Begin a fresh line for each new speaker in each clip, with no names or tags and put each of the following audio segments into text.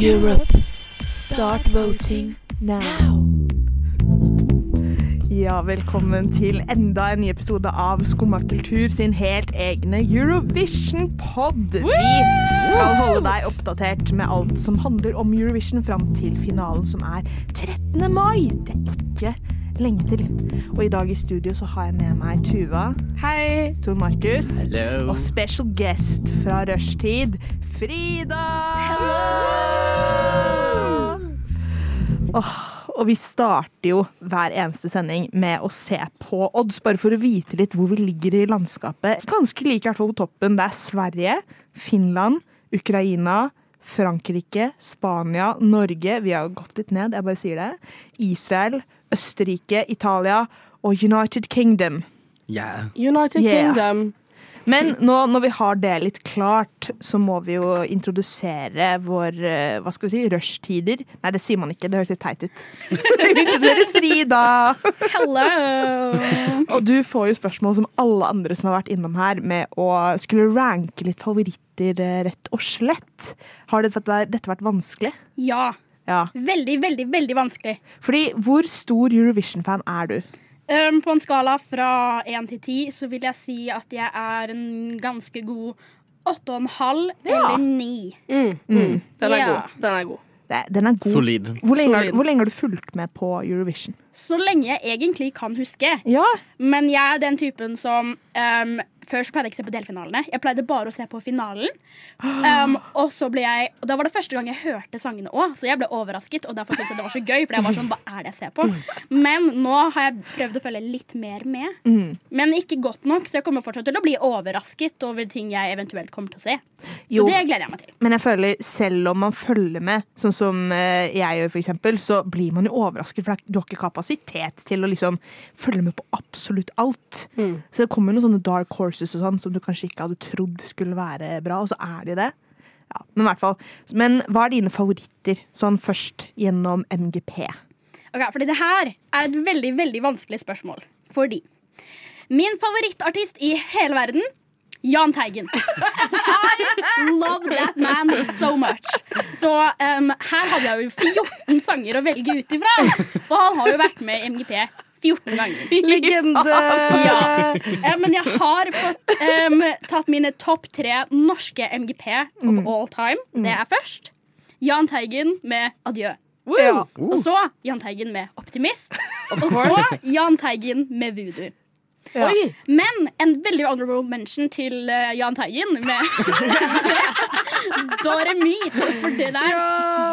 Europe, start voting now.
Ja, velkommen til enda en ny episode av Skumma kultur sin helt egne Eurovision-pod. Vi skal holde deg oppdatert med alt som handler om Eurovision fram til finalen som er 13. mai. Det er ikke lenge til. Og i dag i studio så har jeg med meg Tuva,
Hei.
Tor Markus
Hello.
og special guest fra rushtid, Frida! Åh, og vi starter jo hver eneste sending med å se på odds, bare for å vite litt hvor vi ligger i landskapet. Ganske like i hvert fall på toppen. Det er Sverige, Finland, Ukraina, Frankrike, Spania, Norge Vi har jo gått litt ned, jeg bare sier det. Israel, Østerrike, Italia og United Kingdom.
Yeah.
United
Yeah.
Kingdom.
Men nå når vi har det litt klart, så må vi jo introdusere vår eh, hva skal vi si, rushtider. Nei, det sier man ikke, det høres litt teit ut. Vi introduserer Frida!
Hello!
Og du får jo spørsmål som alle andre som har vært innom her, med å skulle ranke litt favoritter, eh, rett og slett. Har dette vært, dette vært vanskelig?
Ja.
Ja.
Veldig, veldig, veldig vanskelig.
Fordi hvor stor Eurovision-fan er du?
Øhm, på en skala fra 1 til 10 så vil jeg si at jeg er en ganske god 8,5 eller 9.
Mm. Mm. Den er
Ja.
god. Den er god.
Det, den er god.
Solid.
Hvor lenge, har,
Solid.
hvor lenge har du fulgt med på Eurovision?
Så lenge jeg egentlig kan huske.
Ja,
Men jeg er den typen som øhm, Først pleide jeg ikke å se på delfinalene. Jeg pleide bare å se på finalen. Øhm, og så ble jeg Og da var det første gang jeg hørte sangene òg, så jeg ble overrasket. Og derfor syntes jeg det var så gøy, for jeg var sånn Hva er det jeg ser på? Men nå har jeg prøvd å følge litt mer med. Men ikke godt nok, så jeg kommer fortsatt til å bli overrasket over ting jeg eventuelt kommer til å se. Så
Jo.
det gleder jeg meg til.
Men jeg føler selv om man følger med, sånn som eh, jeg gjør for eksempel, så blir man jo overrasket, for det er- du har ikke kapasitet til å liksom følge med på absolutt alt. Så det kommer jo noen sånne dark horses og sånn som du kanskje ikke hadde trodd skulle være bra, og så er de det. Ja, men i hvert fall. Men hva er dine favoritter, sånn først gjennom MGP?
Ok, fordi det her er et veldig, veldig vanskelig spørsmål. Fordi min favorittartist i hele verden Jahn Teigen. I love that man so much. Så em, her hadde jeg jo 14 sanger å velge ut ifra. Og han har jo vært med i MGP 14 ganger.
Legende.
Ja. Eh, men jeg har fått, em, tatt mine topp tre norske MGP of all time. Det er først Jahn Teigen med 'Adjø'.
Woo.
Ja.
Og så Jahn Teigen med 'Optimist'. Og så Jahn Teigen med 'Voodoo'.
Ja.
Oi.
Men en veldig honorable mention til eh, Jahn Teigen med Doremi. For det der,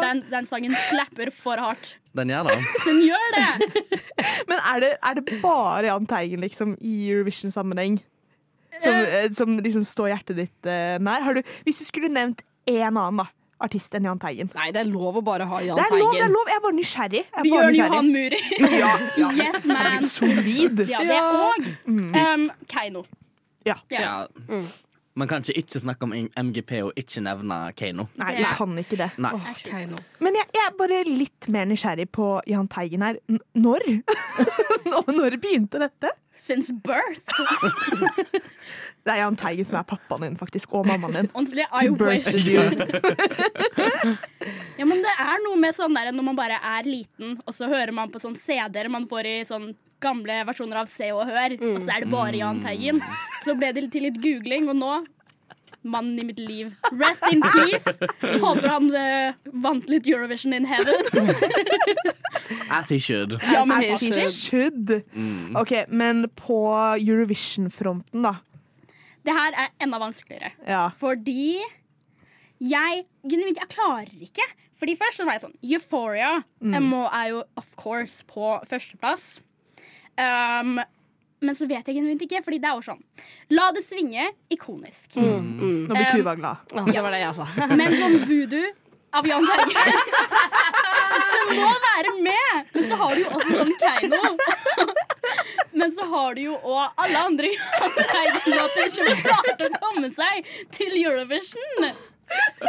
den, den sangen slapper for hardt.
Den gjør det.
Den gjør det!
Men er det, er det bare Jahn Teigen liksom, i Eurovision-sammenheng som, eh, som liksom står hjertet ditt eh, nær? Har du, hvis du skulle nevnt én annen da, artist enn Jahn Teigen
Nei, det er lov å bare ha Jahn
Det er lov, det er
Teigen.
lov! Jeg er bare nysgjerrig. Jeg er bare
Bjørn
nysgjerrig.
Johan Muri.
Ja, ja.
Yes, man.
Solid.
Ja, det og um, em, Keiino.
Ja.
Ja. Man kan ikke ikke snakke om MGP og ikke nevne Kano.
Nei, vi kan ikke det.
Nei.
Åh, Keiino.
Men jeg, jeg er bare litt mer nysgjerrig på Jahn Teigen her. N når? Nå- når begynte dette?
Since birth.
Det er Jahn Teigen som er pappaen din, faktisk. Og mammaen din.
Ordentlig, I
Birthed
wish.
you.
Ja, men det er noe med sånn der når man bare er liten, og så hører man på sånn CD-er man får i sånn gamle versjoner av Se og Hør, og så er det bare Jahn Teigen. Så ble det til litt googling, og nå Mannen i mitt liv. Rest in peace. Håper han eh, vant litt Eurovision in heaven.
As he should.
Ja, men
As he
faktisk.
should.
Mm.
OK, men på Eurovision-fronten, da.
Det her er enda vanskeligere.
Ja.
Fordi jeg genuint, jeg klarer ikke. Fordi først så var jeg sånn Euphoria eh, må, er jo of course på førsteplass. Um, men så vet jeg genuint ikke, fordi det er jo sånn La det svinge, ikonisk.
Nå blir Tuva glad.
Åh, Mm, Det var det jeg sa.
Men sånn voodoo av Jahn Terje Det må være med! Men så har du jo også sånn Keiino. Men så har du jo òg alle andre Jahn Terje-låter som klarte å komme seg til Eurovision.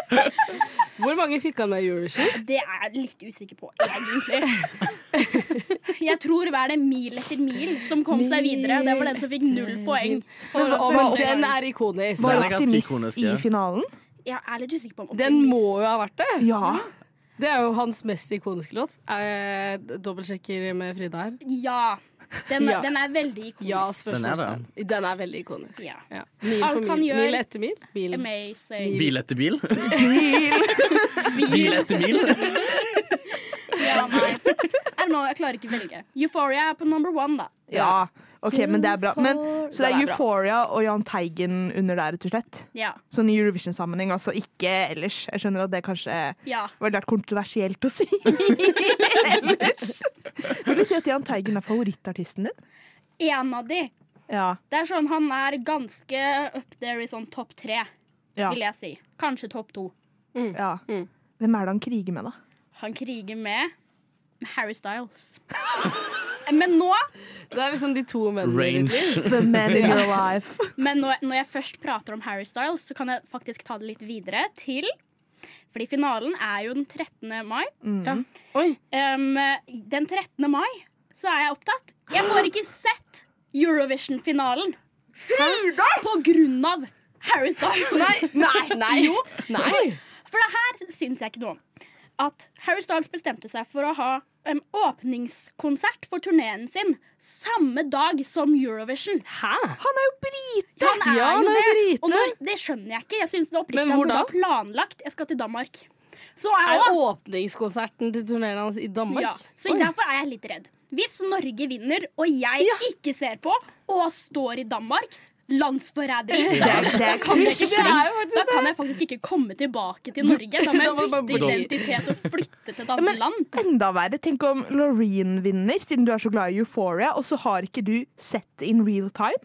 Hvor mange fikk han med i Eurovision?
Det er jeg litt usikker på, egentlig. Jeg tror hver det mil etter mil som kom seg videre. Det var den som fikk null poeng. For,
Men den er ikonisk.
Var
Den er ganske
optimist
ikonisk,
i
ja.
finalen?
jeg er litt usikker på om
Den
Optimist-
må jo ha vært det!
Ja.
Det er jo hans mest ikoniske låt. Eh, Dobbeltsjekker med Frida her.
Ja. Den,
Ja.
den er veldig ikonisk.
Ja,
Den er det.
spørsmålstegn. Den er veldig ikonisk.
Ja.
Mil
Alt
for
han
mil.
gjør-
Mil etter mil. Mil.
Amazing.
Bil etter bil.
Bil.
Bil etter bil.
Ja, nei. I don't know, jeg klarer ikke å velge. Euphoria er på number one, da.
Ja. OK, men det er bra. Men, så det
Den
er
er bra.
Euphoria og Jahn Teigen under der, rett og slett.
Ja.
Sånn i Eurovision-sammenheng, altså ikke ellers. Jeg skjønner at det kanskje
ja.
var litt kontroversielt å si ellers. Vil du si at Jahn Teigen er favorittartisten din?
En av de.
Ja.
Det er sånn, Han er ganske up there i sånn topp tre,
ja.
vil jeg si. Kanskje topp to.
ja. Hvem er det han kriger med, da?
Han kriger med med Harry Styles. Eh, Men nå,
Det er liksom de to mennene i ditt liv.
Range.
The man in your life.
men når, når jeg først prater om Harry Styles, så kan jeg faktisk ta det litt videre til Fordi finalen er jo den 13. mai.
Oi,
Um, den 13. mai så er jeg opptatt. Jeg får ikke sett Eurovision-finalen på grunn av Harry Styles.
Nei, nei, nei.
Jo,
nei.
For det her syns jeg ikke noe om. At Harry Styles bestemte seg for å ha em, åpningskonsert for turneen sin samme dag som Eurovision.
Hæ?
Han er jo brite!
Han er
Ja, han
jo
er
det.
brite.
Og når, det skjønner jeg ikke. Jeg synes det oppriktig
Men
han
hvor
burde
da?
ha planlagt. Jeg skal til Danmark. Så er,
Er
jeg
det
også-
åpningskonserten til turneen hans i Danmark?
ja, så
Oi.
derfor er jeg litt redd. Hvis Norge vinner, og jeg ikke ser på, og står i Danmark Landsforræderi.
Det, det
Kan jeg ikke
Det er jo
bli- Da
faktisk det.
kan jeg faktisk ikke komme tilbake til Norge. Da må
Da må
jeg
du bare
bytte
bli.
identitet og flytte til et
Ja,
annet
men-
land.
Enda verre. Tenk om Loreen vinner, siden du er så glad i Euphoria, og så har ikke du sett det in real time.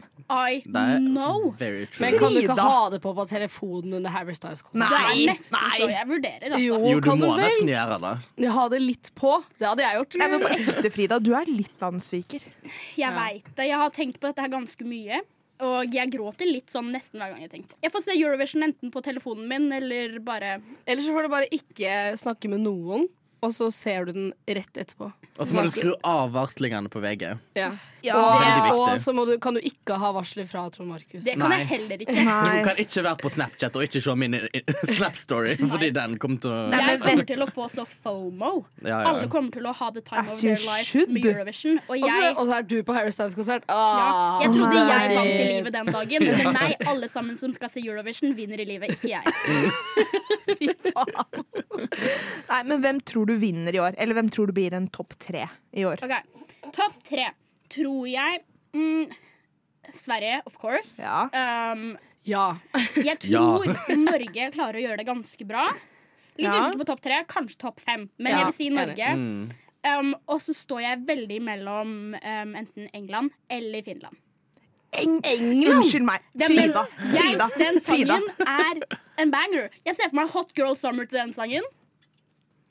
I
Det er
know.
very
Men
true.
kan du ikke
Frida.
ha det på på telefonen under Harry Styles-konserten?
Det er
Nei,
nesten så jeg vurderer, altså.
Jo,
Jo, du
kan du
må
vel
nesten gjøre det.
ha det litt på? Det hadde jeg gjort.
Nei, men på ekte, Frida, du er litt landssviker.
Jeg
Ja.
vet det. Jeg har tenkt på dette her ganske mye. Og jeg gråter litt sånn nesten hver gang jeg tenker på det. Jeg får se Eurovision enten på telefonen min eller bare
Eller så får du bare ikke snakke med noen, og så ser du den rett etterpå.
Og så må du skru av varslingene på VG.
Ja.
Veldig
Og
viktig.
så må du, kan du ikke ha varsler fra Trond Markus.
Det kan
Nei.
jeg heller ikke.
Du
Nei.
kan ikke være på Snapchat og ikke se min Snap-story, fordi den kommer til å
Nei,
Jeg
men
kommer til å få så FOMO.
Ja, ja.
Alle kommer til å ha the time
As
of
you
their life
should.
med Eurovision. Og
Og så
jeg,
og så er du på Harry Styles-konsert.
ja,
Ah.
jeg trodde jeg
Nei.
vant i livet den dagen, men nei, alle sammen som skal se Eurovision, vinner i livet, ikke jeg.
Nei, men hvem tror du vinner i år? Eller hvem tror du blir en topp tre i år?
Ok, Topp tre tror jeg mm, Sverige, of course.
Ja.
Um,
Ja.
jeg tror Norge klarer å gjøre det ganske bra. Litt
Ja.
usikker på topp tre, kanskje topp fem, men
Ja,
jeg vil si
enig.
Norge.
Mm.
Um, og så står jeg veldig mellom um, enten England eller Finland.
Eng
England?
Unnskyld meg.
Den,
Frida.
Jeg,
Frida.
den
Frida.
sangen er en banger. Jeg ser for meg Hot Girl Summer til den sangen.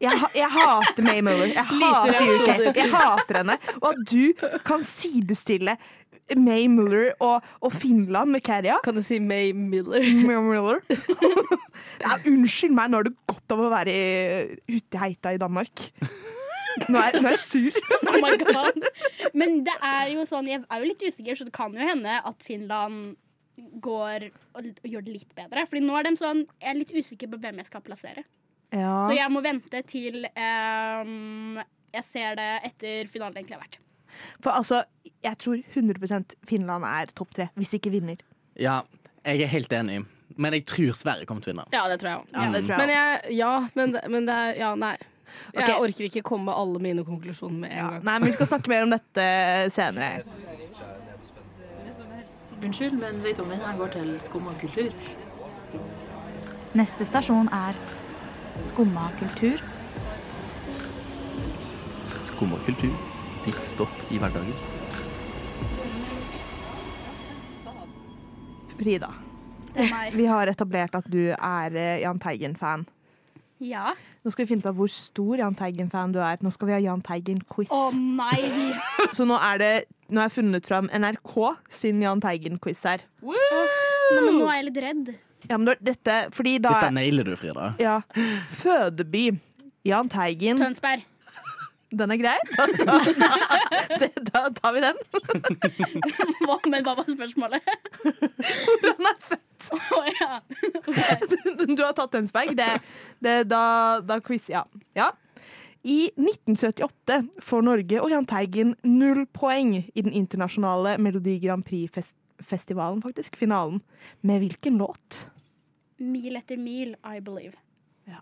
Jeg, ha- jeg hater May Muller. Jeg
Lite
hater
reaksjon,
UK.
du.
Jeg hater henne. Og at du kan sidestille May Muller og, og Finland med Carria
Kan du si May Miller?
May Muller. Ja, unnskyld meg, nå har du godt av å være i- ute i heita i Danmark. Nå er, nå er jeg sur.
Oh my God. Men det er jo sånn, jeg er jo litt usikker, så det kan jo hende at Finland går og, og gjør det litt bedre. Fordi nå er de sånn, jeg er litt usikker på hvem jeg skal plassere. Så
Ja.
jeg må vente til um, jeg ser det etter finalen egentlig har vært.
For altså, jeg tror 100 Finland er topp tre, hvis ikke vinner.
Ja, jeg er helt enig. Men jeg tror Sverige kommer til å vinne.
Ja, det tror jeg òg.
Ja, det tror jeg
Men jeg, ja, men, det- men det er Ja, nei. Jeg
Ok.
orker ikke komme med alle mine konklusjoner med en gang.
Nei, men Vi skal snakke mer om dette senere.
Unnskyld, men vet om her går til skum og kultur?
Neste stasjon er Skumma kultur.
Skum og kultur. Ditt stopp i hverdagen.
Frida,
Det er meg.
vi har etablert at du er eh, Jahn Teigen-fan.
Ja.
Nå skal vi finne ut av hvor stor Jahn Teigen-fan du er. Nå skal vi ha Jahn Teigen-quiz.
Å nei! vi-
Så nå er det Nå har jeg funnet fram NRK sin Jahn Teigen-quiz her.
Nei, men nå er jeg litt redd.
Ja, men det var dette Fordi da
Dette nailer du, Frida.
Ja. Fødeby. Jahn Teigen.
Tønsberg.
Den er grei. Da, da, det, da tar vi den.
Hva, men hva var spørsmålet?
Den er født.
Å ja. Ok.
Du har tatt Tønsberg. Det, det, da, da quiz, ja. ja. I 1978 får Norge og Jahn Teigen null poeng i den internasjonale Melodi Grand Prix-festivalen, faktisk. Finalen. Med hvilken låt?
Mil etter mil, I believe.
Ja.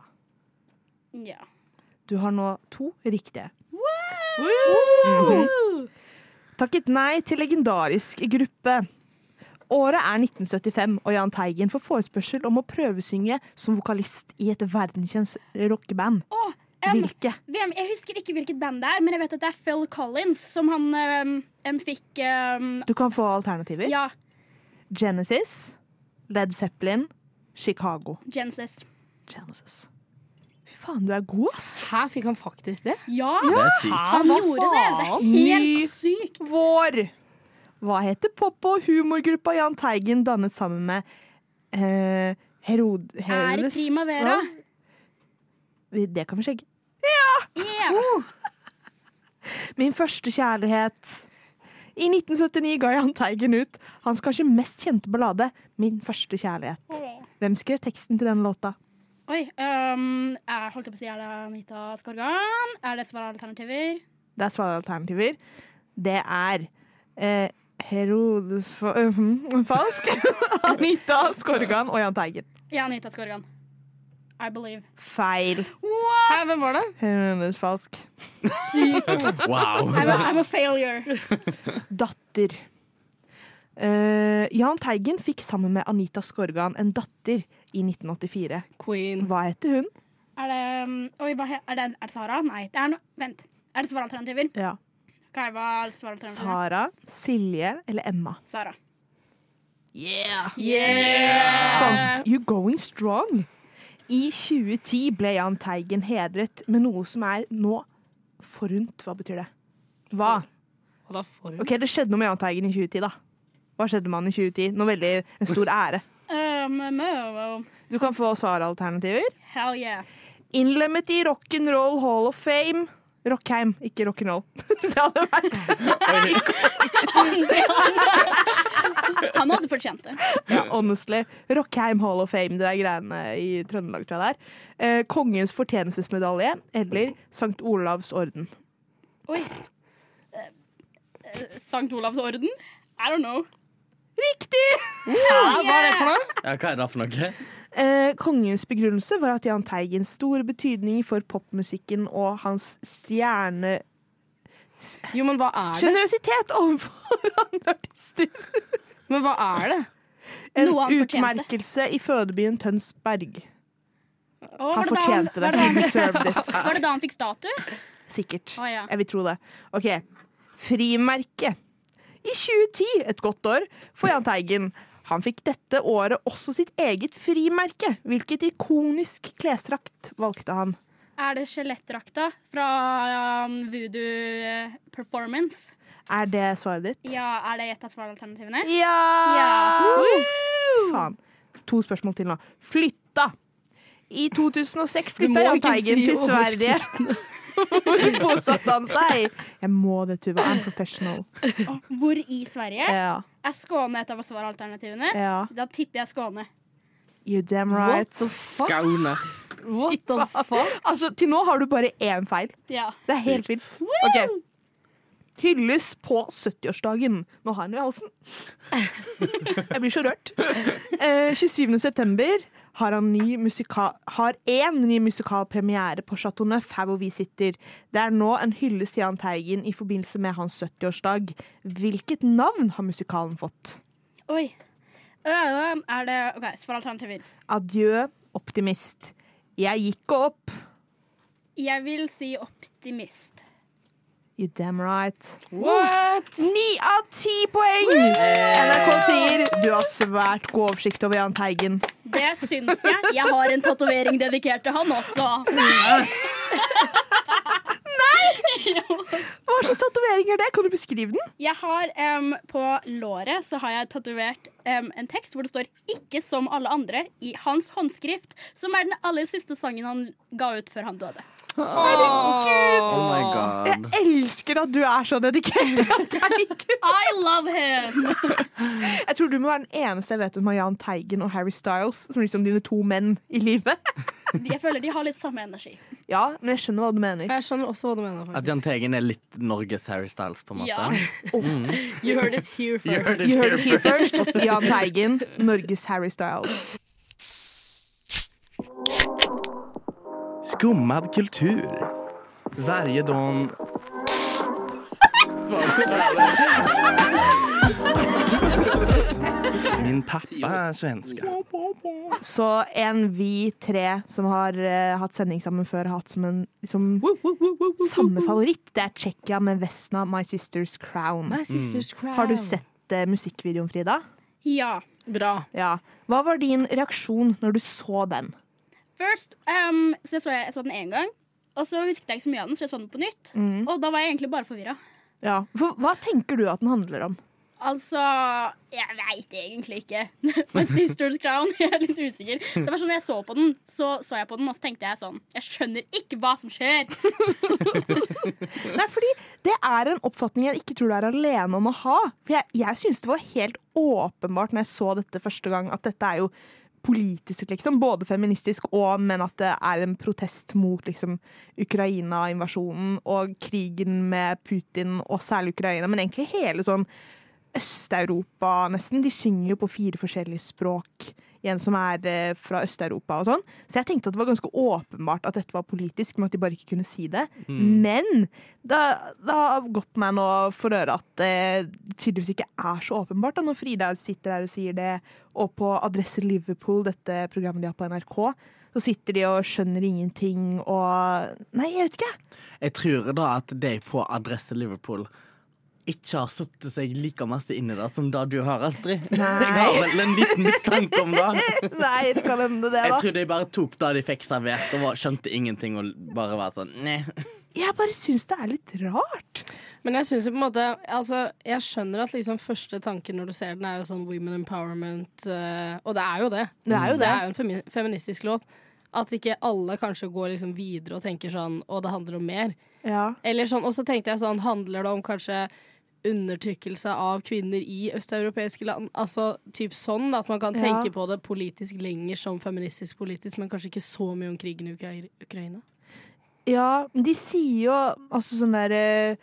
Ja.
Du har nå to riktige. Mhm. Takket nei til legendarisk gruppe. Året er 1975, og Jahn Teigen får forespørsel om å prøvesynge som vokalist i et verdenskjent rockeband.
Å, em,
Hvilke?
hvem, jeg husker ikke hvilket band det er, men jeg vet at det er Phil Collins som han em, em, fikk em,
Du kan få alternativer.
Ja,
Genesis, Led Zeppelin, Chicago.
Genesis.
Genesis. Fy faen, du er god, ass!
Her fikk han faktisk det.
Ja,
Det er sykt.
han
hva
gjorde det! Det er
faen?
Ny-
helt sykt.
Vår! Hva heter pop- og humorgruppa Jahn Teigen dannet sammen med eh, Herod...
Er
Herodes?
Primavera.
Hva? Vi- Det kan vi sjekke.
Yeah.
Min første kjærlighet. I 1979 ga Jahn Teigen ut hans kanskje mest kjente ballade, Min første kjærlighet. Hvem skrev teksten til den låta?
Oi. em, jeg holdt på å si er det Anita Skorgan? Er det svaralternativer?
Det er svaralternativer. Det er eh, Herodes fa øh, hm, Falsk, Anita Skorgan og Jahn Teigen.
Ja, Anita Skorgan. I believe.
Feil.
Hæ, hvem var det?
Herodes Falsk.
Wow.
I'm a, I'm a failure.
Datter. Eh, Jahn Teigen fikk sammen med Anita Skorgan en datter i 1984.
Queen.
Hva heter hun?
Er det em, Oi, hva he- er det, er det Sara? Nei, det er no, vent. Er det svaralternativer?
Ja.
Hva er svaralternativer?
Sara, Silje eller Emma?
Sara.
Fant You Going Strong. I 2010 ble Jahn Teigen hedret med noe som er nå forunt. Hva betyr det? Hva?
Og da får hun
Ok, Det skjedde noe med Jahn Teigen i 2010, da. Hva skjedde med han i 2010? Noe veldig, En stor ære.
Um, um, um,
Du kan få svaralternativer.
hell yeah.
Innlemmet i Rock'n'Roll Hall of Fame. Rockheim, ikke rock'n'roll. Det hadde vært
Han hadde fortjent det.
ja, honestly. Rockheim Hall of Fame, det der greiene i Trøndelag, tror jeg det er. Eh, Kongens fortjenestesmedalje eller Sankt Olavs orden.
Oi. Eh, eh, Sankt Olavs orden? I don't know.
Riktig!
Hæ, Hva er det for noe?
Ja, hva er det for noe?
Eh, kongens begrunnelse var at Jahn Teigens store betydning for popmusikken og hans stjerne...
Jo, men hva er det?
Sjenerøsitet overfor andre artister.
Men hva er det?
En
Noe han fortjente.
utmerkelse i fødebyen Tønsberg.
Å, var
Han
det da
fortjente det.
Var det
He
da,
deserved it.
han- var det da han fikk statue?
Sikkert.
Å, ja.
Jeg vil tro det. OK. Frimerke. I 2010, et godt år, får Jahn Teigen. Han fikk dette året også sitt eget frimerke. Hvilket ikonisk klesdrakt valgte han?
Er det skjelettdrakta fra um, Voodoo eh, Performance?
Er det svaret ditt?
Ja, er det et av svaralternativene?
Ja!
Ja.
Woo! Faen. To spørsmål til nå. Flytta! I 2006 flytta Jahn Teigen til Sverige. Hvor bosatte han seg? Jeg må det, Tuva. I'm professional.
Å, Hvor i Sverige?
Ja.
Er Skåne et av svaralternativene?
ja.
Da tipper jeg Skåne.
You damn
What
right.
the fuck?
Gauner.
What the fuck?
Altså, Til nå har du bare én feil.
Ja.
Det er helt vilt. Ok. Hylles på 70-årsdagen. Nå har jeg den i halsen. Jeg blir så rørt. Eh, 27. september har han ny musika har én ny musikalpremiere på Chateau Neuf, her hvor vi sitter. Det er nå en hyllest til Jahn Teigen i forbindelse med hans 70-årsdag. Hvilket navn har musikalen fått?
Oi. Øh, Er det OK, svaralternativer.
Adjø, optimist. Jeg gikk opp.
Jeg vil si optimist.
You damn right.
What?
Ni av ti poeng! NRK sier du har svært god oversikt over Jahn Teigen.
Det syns jeg. Jeg har en tatovering dedikert til han også.
Hva slags tatovering er det? Kan du beskrive den?
Jeg har em, På låret så har jeg tatovert em, en tekst hvor det står 'Ikke som alle andre' i hans håndskrift, som er den aller siste sangen han ga ut før han døde.
Oh my god.
Jeg elsker at du er sånn dedikert. Jan Teigen.
I love him!
Jeg tror du må være den eneste jeg vet om har Jahn Teigen og Harry Styles som liksom dine to menn i livet.
Jeg føler de har litt samme energi.
Ja, men jeg skjønner hva du mener.
Jeg skjønner også hva du mener.
At Jahn
faktisk
Teigen er litt Norges Harry Styles, på en måte.
Ja.
You heard it here
You heard
first.
it
You heard it
here
here first. Jahn Teigen, Norges Harry Styles.
Skummad kultur. Varje dag Min pappa er svenska.
Så en vi tre som har eh, hatt sending sammen før, har hatt som en liksom, samme favoritt. Det er Tsjekkia med Vesna, My Sister's Crown.
My sister's crown.
Mm. Har du sett eh, musikkvideoen, Frida?
Ja.
Bra.
Ja. Hva var din reaksjon når du så den?
First, ehm, så jeg så, jeg så den én gang, og så husket jeg ikke så mye av den, så jeg så den på nytt. Og da var jeg egentlig bare forvirra.
Ja. For, hva tenker du at den handler om?
Altså Jeg veit egentlig ikke. Men Sisters Crown, jeg er litt usikker. Det var sånn jeg så på den, så så jeg på den, og så tenkte jeg sånn Jeg skjønner ikke hva som skjer.
Nei, fordi Det er en oppfatning jeg ikke tror du er alene om å ha. For Jeg, jeg syns det var helt åpenbart når jeg så dette første gang, at dette er jo politisk, liksom. Både feministisk og men at det er en protest mot liksom, Ukraina-invasjonen og krigen med Putin, og særlig Ukraina, men egentlig hele sånn Øst-Europa, nesten. De synger jo på fire forskjellige språk. En som er eh, fra Øst-Europa og sånn. Så jeg tenkte at det var ganske åpenbart at dette var politisk, men at de bare ikke kunne si det. Men det det har gått meg nå for øre at det tydeligvis ikke er så åpenbart. Da, når Frida sitter her og sier det, og på Adresse Liverpool, dette programmet de har på NRK, så sitter de og skjønner ingenting og Nei, jeg vet ikke.
Jeg tror da at de på Adresse Liverpool ikke har satt seg like masse inn i det som det du har, Astrid. Jeg har vel en liten mistanke om det.
Nei, det kan hende det,
Jeg
da.
tror de bare tok det de fikk servert, og var- skjønte ingenting og bare var sånn Nei.
Jeg bare syns det er litt rart.
Men jeg synes jo på en måte altså, Jeg skjønner at liksom første tanken når du ser den, er jo sånn women empowerment. eh, og det er jo det. Mm.
Det er jo
Det
det.
er jo en femi feministisk låt. At ikke alle kanskje går liksom videre og tenker sånn Og det handler om mer.
Ja.
Eller sånn, og så tenkte jeg sånn, handler det om kanskje undertrykkelse av kvinner i østeuropeiske land? Altså typ sånn, at man kan
Ja.
tenke på det politisk lenger som feministisk politisk, men kanskje ikke så mye om krigen i Ukra- Ukraina.
Ja, men de sier jo altså sånn der eh,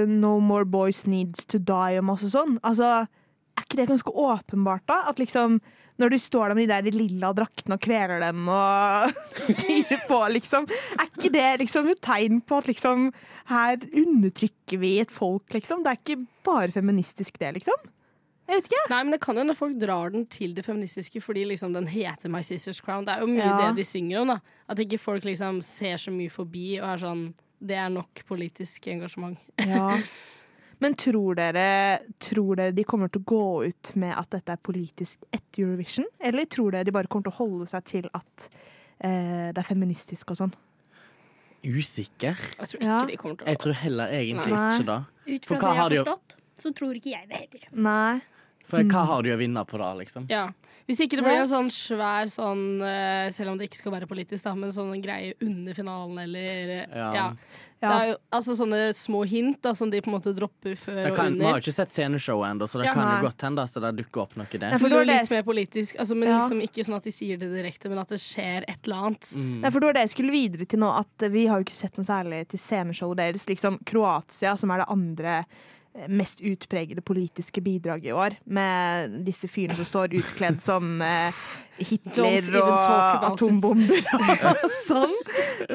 eh, No more boys need to die og masse sånn. Altså, er ikke det ganske åpenbart, da? At liksom når du står der med de der lilla draktene og kveler dem og styrer på, liksom. Er ikke det liksom et tegn på at liksom her undertrykker vi et folk, liksom? Det er ikke bare feministisk, det, liksom? Jeg vet ikke.
Nei, men det kan jo når folk drar den til det feministiske fordi liksom den heter My Sisters Crown. Det er jo mye
Ja.
det de synger om, da. At ikke folk liksom ser så mye forbi og er sånn Det er nok politisk engasjement.
Ja. Men tror dere, tror dere de kommer til å gå ut med at dette er politisk etter Eurovision? Eller tror dere de bare kommer til å holde seg til at eh, det er feministisk og sånn?
Usikker.
Jeg tror ikke
Ja.
de kommer til å
Jeg tror heller egentlig
Nei.
ikke det.
Ut
For hva
fra det jeg
har de
har
jo-
forstått, så tror ikke jeg det heller.
Nei.
For hva har de å vinne på det, liksom?
Ja. Hvis ikke det blir
Ja.
en sånn svær sånn, eh, selv om det ikke skal være politisk, da, men sånn en greie under finalen eller eh,
Ja.
ja. Det er jo altså sånne små hint da, som de på en måte dropper før
Det
og
kan, vi har
under.
jo ikke sett sceneshowet ennå, så det
Ja,
kan
nei.
jo godt hende at det dukker opp noe
Nei,
der.
for
For
det
det
var
er
det jeg
litt mer politisk, altså, men
Ja.
liksom ikke sånn at de sier det direkte, men at det skjer et eller annet.
Mm,
Nei, for det var det jeg skulle videre til nå, at vi har jo ikke sett noe særlig til sceneshowet deres. Liksom Kroatia, som er det andre eh, mest utpregede politiske bidraget i år, med disse fyrene som står utkledd som eh,
Don't
Hitler
even talk about it.
og atombomber og sånn.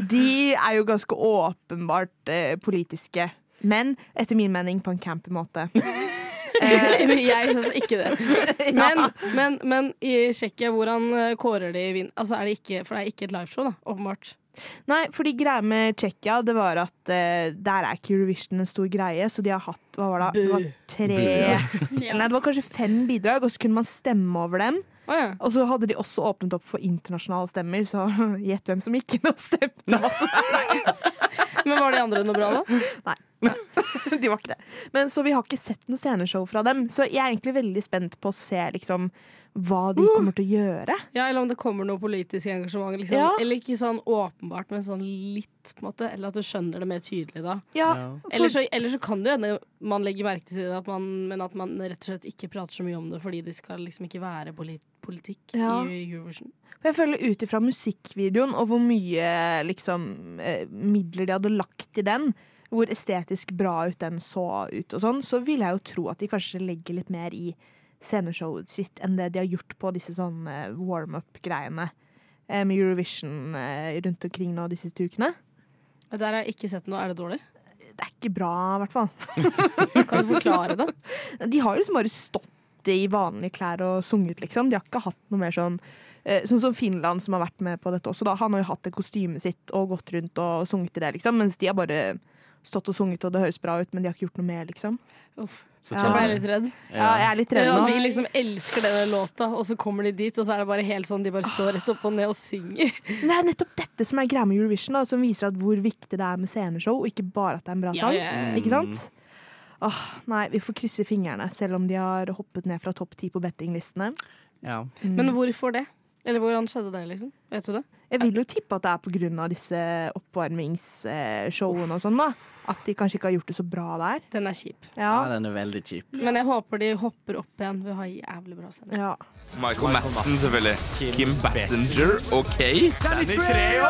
De er jo ganske åpenbart eh, politiske, men etter min mening på en campy måte.
Mm.
jeg syns ikke det. Men, men, men i Tsjekkia, hvordan eh, kårer de vinn? Altså, er det ikke, for det er ikke et liveshow, da, åpenbart.
Nei, fordi greia med Tsjekkia det var at eh, der er ikke Eurovision en stor greie, så de har hatt hva var det, det var
Bu.
tre Eller Nei, det var kanskje fem bidrag, og så kunne man stemme over dem.
Å ja.
Og så hadde de også åpnet opp for internasjonale stemmer, så gjett hvem som gikk inn og stemte.
Men var de andre noe bra, da?
Nei. De var ikke det. Men så vi har ikke sett noe sceneshow fra dem. Så jeg er egentlig veldig spent på å se liksom, hva de kommer til å gjøre.
Ja, eller om det kommer noe politisk engasjement. Liksom.
Ja.
Eller ikke sånn åpenbart, men sånn litt, på en måte. Eller at du skjønner det mer tydelig da.
Ja,
Eller så, eller så kan det jo hende man legger merke til det, at man, men at man rett og slett ikke prater så mye om det fordi det skal liksom ikke være poli politikk
Ja.
i Eurovision.
For jeg føler ut ifra musikkvideoen og hvor mye liksom, eh, midler de hadde lagt i den, hvor estetisk bra ut den så ut og sånn, så vil jeg jo tro at de kanskje legger litt mer i sceneshowet sitt enn det de har gjort på disse sånn eh, warm-up-greiene eh, med Eurovision eh, rundt omkring nå de siste ukene.
Og Der har jeg ikke sett noe. Er det dårlig?
Det er ikke bra, i hvert fall.
Kan du forklare det?
De har liksom bare stått i vanlige klær og sunget, liksom. De har ikke hatt noe mer sånn eh, Sånn som Finland, som har vært med på dette også, da. Han har jo hatt det kostymet sitt og gått rundt og sunget i det, liksom. Mens de har bare stått og sunget, og det høres bra ut, men de har ikke gjort noe mer, liksom.
Uff,
Så
jeg
tar
ble
vi
litt
det.
redd.
Ja, jeg er litt redd
Ja, vi
nå.
liksom elsker denne låta, og så kommer de dit, og så er det bare helt sånn de bare står rett opp og ned og synger.
Det er nettopp dette som er greia med Eurovision, da, som viser at hvor viktig det er med sceneshow, og ikke bare at det er en bra
Ja,
sang.
ja, ja.
Ikke sant? Åh, nei, vi får krysse fingrene, selv om de har hoppet ned fra topp ti på bettinglistene.
Ja.
Mm.
Men hvorfor det? Eller hvordan skjedde det, liksom? Vet du det?
Jeg vil jo tippe at det er pga. disse oppvarmingsshowene og sånn, da. At de kanskje ikke har gjort det så bra der.
Den er kjip.
Ja.
ja, den er veldig kjip.
Men jeg håper de hopper opp igjen. Vi har jævlig bra sending.
ja.
Michael Madsen, selvfølgelig. Kim Bassinger og Kay. Danny Treho!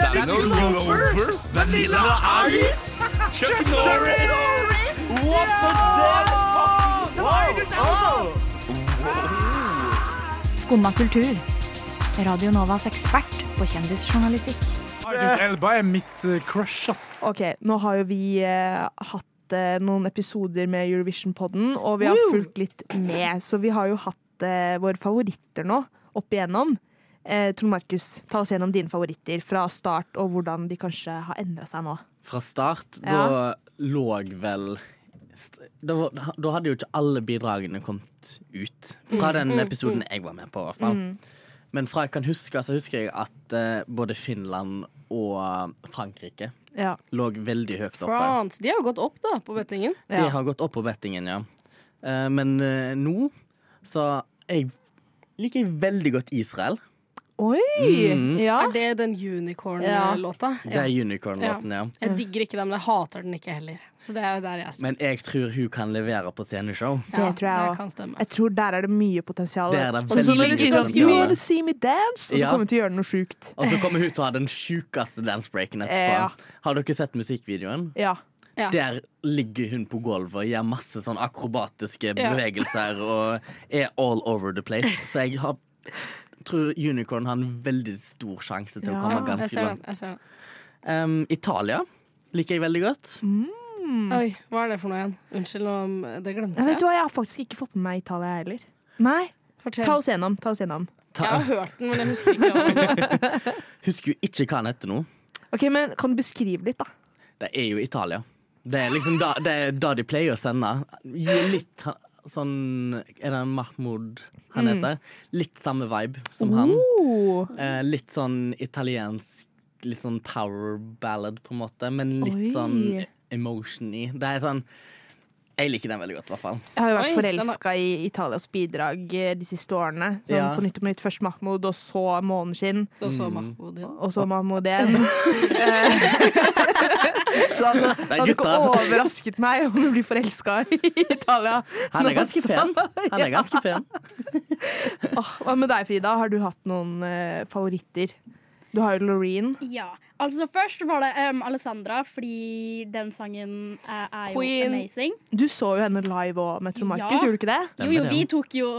Daniel Glover. Vanilla Ice. Chuck Norris. What the fuck?
Skumma kultur. Radio Novas ekspert på kjendisjournalistikk.
Idris Elba er mitt eh, crush, ass.
OK, nå har jo vi eh, hatt eh, noen episoder med Eurovision-podden, og vi har fulgt litt med, så vi har jo hatt eh, våre favoritter nå opp igjennom. Eh, Trond Markus, ta oss gjennom dine favoritter fra start, og hvordan de kanskje har endra seg nå.
Fra start,
Ja.
da lå vel st- da, var- da hadde jo ikke alle bidragene kommet ut.
Mm.
Fra den episoden jeg var med på, i hvert fall. Men fra jeg kan huske, så husker jeg at eh, både Finland og Frankrike
Ja.
lå veldig høyt oppe.
France. De har jo gått opp, da, på bettingen.
De har gått opp på bettingen, ja. Eh, men eh, nå så jeg liker jeg veldig godt Israel.
Oi!
Mm.
Ja.
Er det den unicorn-låta?
Det er unicorn-låten, ja.
Jeg digger ikke den, men jeg hater den ikke heller. Så det er jo der jeg står.
Men jeg tror hun kan levere på TV-show.
Det tror jeg
det
også.
kan stemme.
Jeg tror der er det mye potensial.
Der er det
og så når
veldig
de
mye
sier sånn
potensial.
You wanna see me dance? Og så
Ja.
kommer de til å gjøre noe sjukt.
Og så kommer hun til å ha den sjukeste dancebreaken
Ja.
etterpå. Har dere sett musikkvideoen?
Ja.
Ja.
Der ligger hun på gulvet og gjør masse sånn akrobatiske
Ja.
bevegelser og er all over the place. Så jeg har, tror Unicorn har en veldig stor sjanse til
Ja.
å komme
Ja,
Jeg
ganske
ser den.
langt.
Jeg ser den.
Em, Italia liker jeg veldig godt.
Oi, hva er det for noe igjen? Unnskyld om det
Jeg
glemte
Mm. vet
jeg.
du hva, jeg har faktisk ikke fått med meg Italia heller. Nei, ta
Fortell.
oss gjennom. Ta oss gjennom.
Jeg
Ta,
har hørt den, men jeg husker ikke hva den var.
husker jo ikke hva han heter nå.
Ok, men Kan du beskrive litt, da?
Det er jo Italia. Det er liksom da, det er da de pleier å sende. Gi litt ha- sånn Er det
Mm.
Mahmoud han heter? Litt samme vibe som han.
Oh.
Eh, litt sånn italiensk Litt sånn power ballad, på en måte, men litt
Oi.
sånn emotion i. Det er sånn Jeg liker den veldig godt, i hvert fall.
Jeg har jo vært
Oi, den
forelska i Italias bidrag eh, de siste årene. Sånn
Ja.
På nytt og på nytt. Først Mahmoud, og så Måneskinn,
Og så Mahmoud igjen.
og så Mahmoud igjen. Eh, så altså, det hadde ikke
gutta.
overrasket meg om du blir forelska i Italia.
Han
Nå
er ganske
sa-
pen. Han er ganske pen.
Åh, Hva med deg, Frida? Har du hatt noen eh, favoritter? Du har jo Loreen.
Ja, altså Først var det um, Alessandra, fordi den sangen eh, er jo
Queen.
amazing.
Du så jo henne live òg med Trond
Ja.
Markus, gjorde du ikke det?
Jo,
Stemmer
jo,
det.
vi tok jo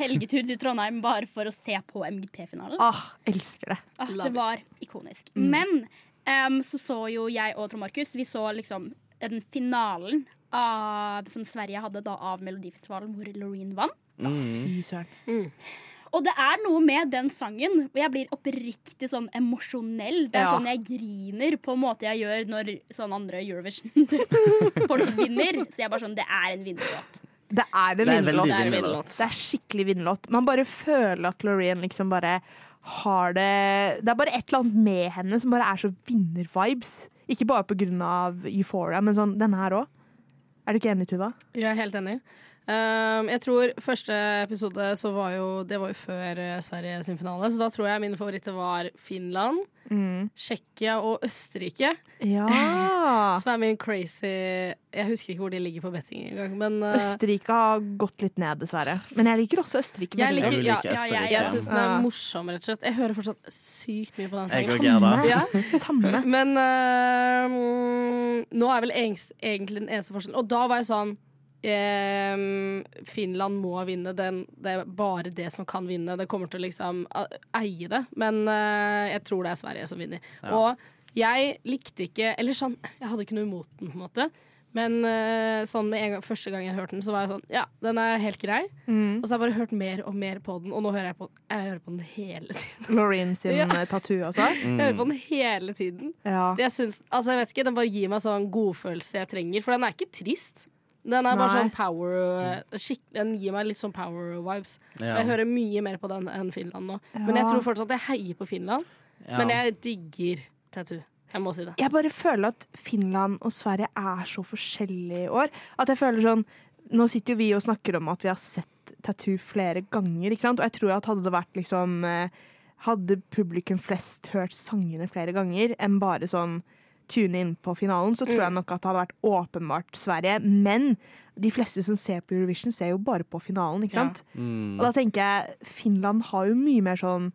helgetur til Trondheim bare for å se på MGP-finalen.
Åh, elsker det.
Ah,
Love
det
it.
var ikonisk. Men em, så så jo jeg og Trond Markus Vi så liksom den finalen av, som Sverige hadde da av Melodifestivalen, hvor Loreen vant.
Mm.
Fy søren.
Og det er noe med den sangen hvor jeg blir oppriktig sånn emosjonell. Det er
Ja.
sånn jeg griner på en måte jeg gjør når sånn andre Eurovision folk vinner. Så jeg er bare sånn Det er en vinnerlåt.
Det er en
Det er veldig
vinnerlåt.
Det er
vinnerlåt.
vinnerlåt.
Det er skikkelig vinnerlåt. Man bare føler at Loreen liksom bare har det Det er bare et eller annet med henne som bare er så vinner-vibes. Ikke bare på grunn av Euphoria, men sånn denne her òg. Er du ikke enig, Tuva?
Jeg er helt enig. Ehm, jeg tror første episode så var jo Det var jo før eh, Sverige sin finale, så da tror jeg mine favoritter var Finland,
Mm.
Tsjekkia og Østerrike.
Ja.
Som er min crazy Jeg husker ikke hvor de ligger på betting engang, men eh,
Østerrike har gått litt ned, dessverre. Men jeg liker også Østerrike.
jeg
veldig
liker
vil
ja, ja,
like Østerrike.
Jeg, jeg syns den er
Ja.
morsom, rett og slett. Jeg hører fortsatt sykt mye på den
Jeg
sangen.
og Gerda.
Ja.
godt. Samme.
Men eh, mm, nå er vel engst, egentlig den eneste forskjellen. Og da var jeg sånn eh, Finland må vinne. Den, det er bare det som kan vinne. Det kommer til å liksom eh, eie det. Men eh, jeg tror det er Sverige som vinner. Og jeg likte ikke Eller sånn, jeg hadde ikke noe imot den, på en måte. Men eh, sånn med en gang, første gang jeg hørte den, så var jeg sånn Ja, den er helt grei. Og så har jeg bare hørt mer og mer på den, og nå hører jeg på den, jeg hører på den hele tiden.
Loreen sin
Ja. Mm.
eh, tattoo også.
Jeg hører på den hele tiden.
Ja.
Jeg syns, altså jeg vet ikke, Den bare gir meg sånn godfølelse jeg trenger, for den er ikke trist. Den er bare
Nei.
sånn power eh, skikk, Den gir meg litt sånn power vibes. Og Jeg
Ja.
hører mye mer på den enn Finland nå. Men jeg
Ja.
tror fortsatt jeg heier på Finland.
Ja.
Men jeg digger tattoo. Jeg må si det.
Jeg bare føler at Finland og Sverige er så forskjellige i år. At jeg føler sånn Nå sitter jo vi og snakker om at vi har sett tattoo flere ganger, ikke sant? og jeg tror at hadde det vært liksom eh, Hadde publikum flest hørt sangene flere ganger enn bare sånn tune inn på finalen, så tror jeg nok at det hadde vært åpenbart Sverige. Men de fleste som ser på Eurovision, ser jo bare på finalen, ikke
Ja.
sant?
Mm.
Og da tenker jeg Finland har jo mye mer sånn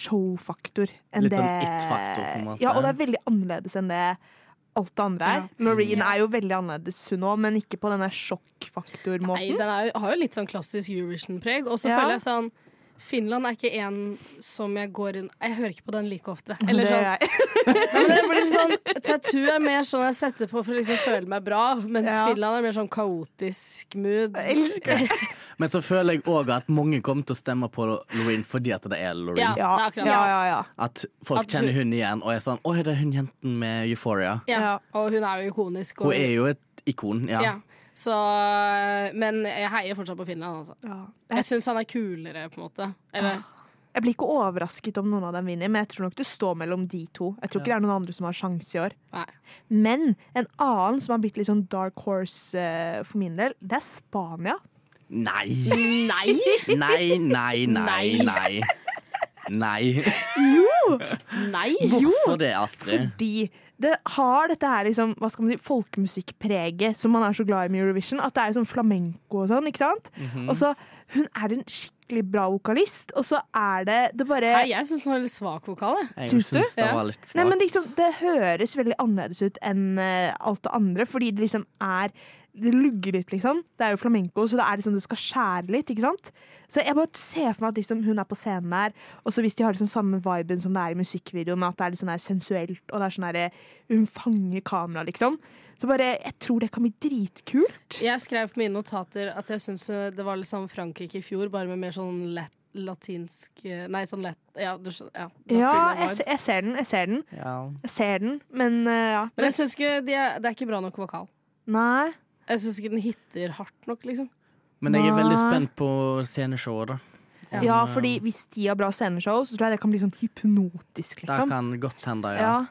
show-faktor enn
Litt
det
sånn it-faktor, på en måte.
Ja, og det er veldig annerledes enn det alt det andre er. Noreen
Mm.
er jo veldig annerledes hun òg, men ikke på denne
Nei,
sjokkfaktor-måten.
den er, jo- har jo litt sånn klassisk Eurovision-preg. Og så
Ja.
føler jeg sånn Finland er ikke en som jeg går inn Jeg hører ikke på den like ofte. Eller
Det
sånn,
er jeg.
Nei, men det blir litt sånn Tattoo er mer sånn jeg setter på for å liksom føle meg bra, mens
Ja.
Finland er mer sånn kaotisk mood.
Jeg elsker det.
Men så føler jeg òg at mange kommer til å stemme på Loreen fordi at det
Ja.
er Loreen.
Ja,
det er akkurat det.
ja, ja. ja.
At folk
At hun-
kjenner hun igjen og er sånn Å, er det hun jenten med Euphoria?
Ja.
Ja.
Og hun er jo ikonisk. Og,
Hun er jo et ikon, ja.
ja. Så, men jeg heier fortsatt på Finland. Altså.
ja.
Jeg
Jeg,
syns han er kulere, på en måte. Eller,
jeg blir ikke overrasket om noen av dem vinner, men jeg tror nok det står mellom de to. Jeg tror ikke det er noen andre som har sjanse i år.
nei.
Men en annen som har blitt litt sånn dark horse eh, for min del, det er Spania.
Nei. Nei. Nei, nei, nei, nei. Nei.
nei.
Hvorfor det, Astrid?
Fordi det har dette her liksom, hva skal man si, folkemusikkpreget som man er så glad i med Eurovision. At det er sånn flamenco og sånn, ikke sant? Og så Hun er en skikkelig bra vokalist, og så er det det bare
Nei, jeg syns han har litt svak vokal. Jeg.
Jeg
Syns du?
syns det
Ja.
var litt
Nei, men
svakt.
liksom, Det høres veldig annerledes ut enn eh, alt det andre, fordi det liksom er Det lugger litt, liksom. Det er jo flamenco, så det er liksom det skal skjære litt, ikke sant? Så jeg bare ser for meg at liksom, hun er på scenen der, og så hvis de har liksom samme viben som det er i musikkvideoen, at det er litt sånn her sensuelt, og det er sånn her eh, Hun fanger kameraet, liksom. Så bare Jeg tror det kan bli dritkult.
jeg skrev på mine notater at jeg syns eh, det var litt sånn Frankrike i fjor, bare med mer sånn lat- latinsk eh, Nei, sånn lett Ja, du skjønner. Ja,
Ja,
latina
jeg,
vibe.
se- jeg ser den, jeg ser den.
Ja.
Jeg ser den, men eh, ja.
Men jeg syns ikke de er, det er ikke bra nok vokal.
Nei.
Jeg syns ikke den hitter hardt nok, liksom.
Men jeg er veldig
Nei.
spent på sceneshowet, da. Om,
Ja,
eh,
fordi hvis de har bra sceneshow, så tror jeg det kan bli sånn hypnotisk,
Det
liksom.
kan godt hende, ja.
Ja.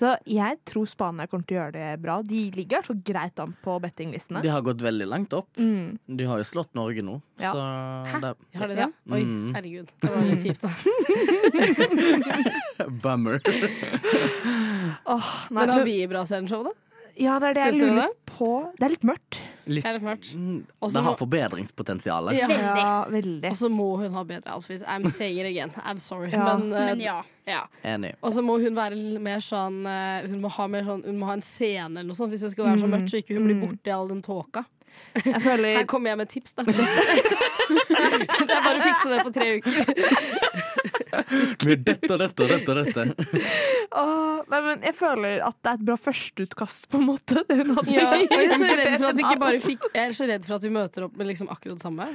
Så jeg tror Spania kommer til å gjøre det bra. De ligger i hvert fall greit an på bettinglistene.
De har gått veldig langt opp.
Mm.
De har jo slått Norge nå,
Ja.
så det
Har de det?
Ja.
Oi,
Mm.
herregud. Det var litt kjipt, da.
Bummer.
Åh, nei,
Men har
men,
vi bra sceneshow, da?
ja, det er det jeg
Syns dere
lurer litt på. Det er litt mørkt.
Litt,
Det er litt mørkt.
Mm,
Også
det
må-
har forbedringspotensial.
Ja.
Ja, veldig.
Og så må hun ha bedre outfit. I'm saying it again. I'm sorry.
Ja.
Men, eh,
Men ja.
ja.
Enig.
Og så må hun være litt mer sånn eh, Hun må ha, mer sånn, hun må ha en scene eller noe sånt hvis hun skal være så mørkt, så ikke hun blir borte i all den tåka.
Jeg føler
Her kommer jeg med tips, da. det er bare å fikse det på tre uker.
Med dette, dette, dette, dette.
Åh, nei, men jeg føler at det er et bra førsteutkast, på en måte. Det hun hadde.
Ja, og jeg er så redd for at vi ikke bare fikk Jeg er så redd for at vi møter opp med liksom akkurat det samme.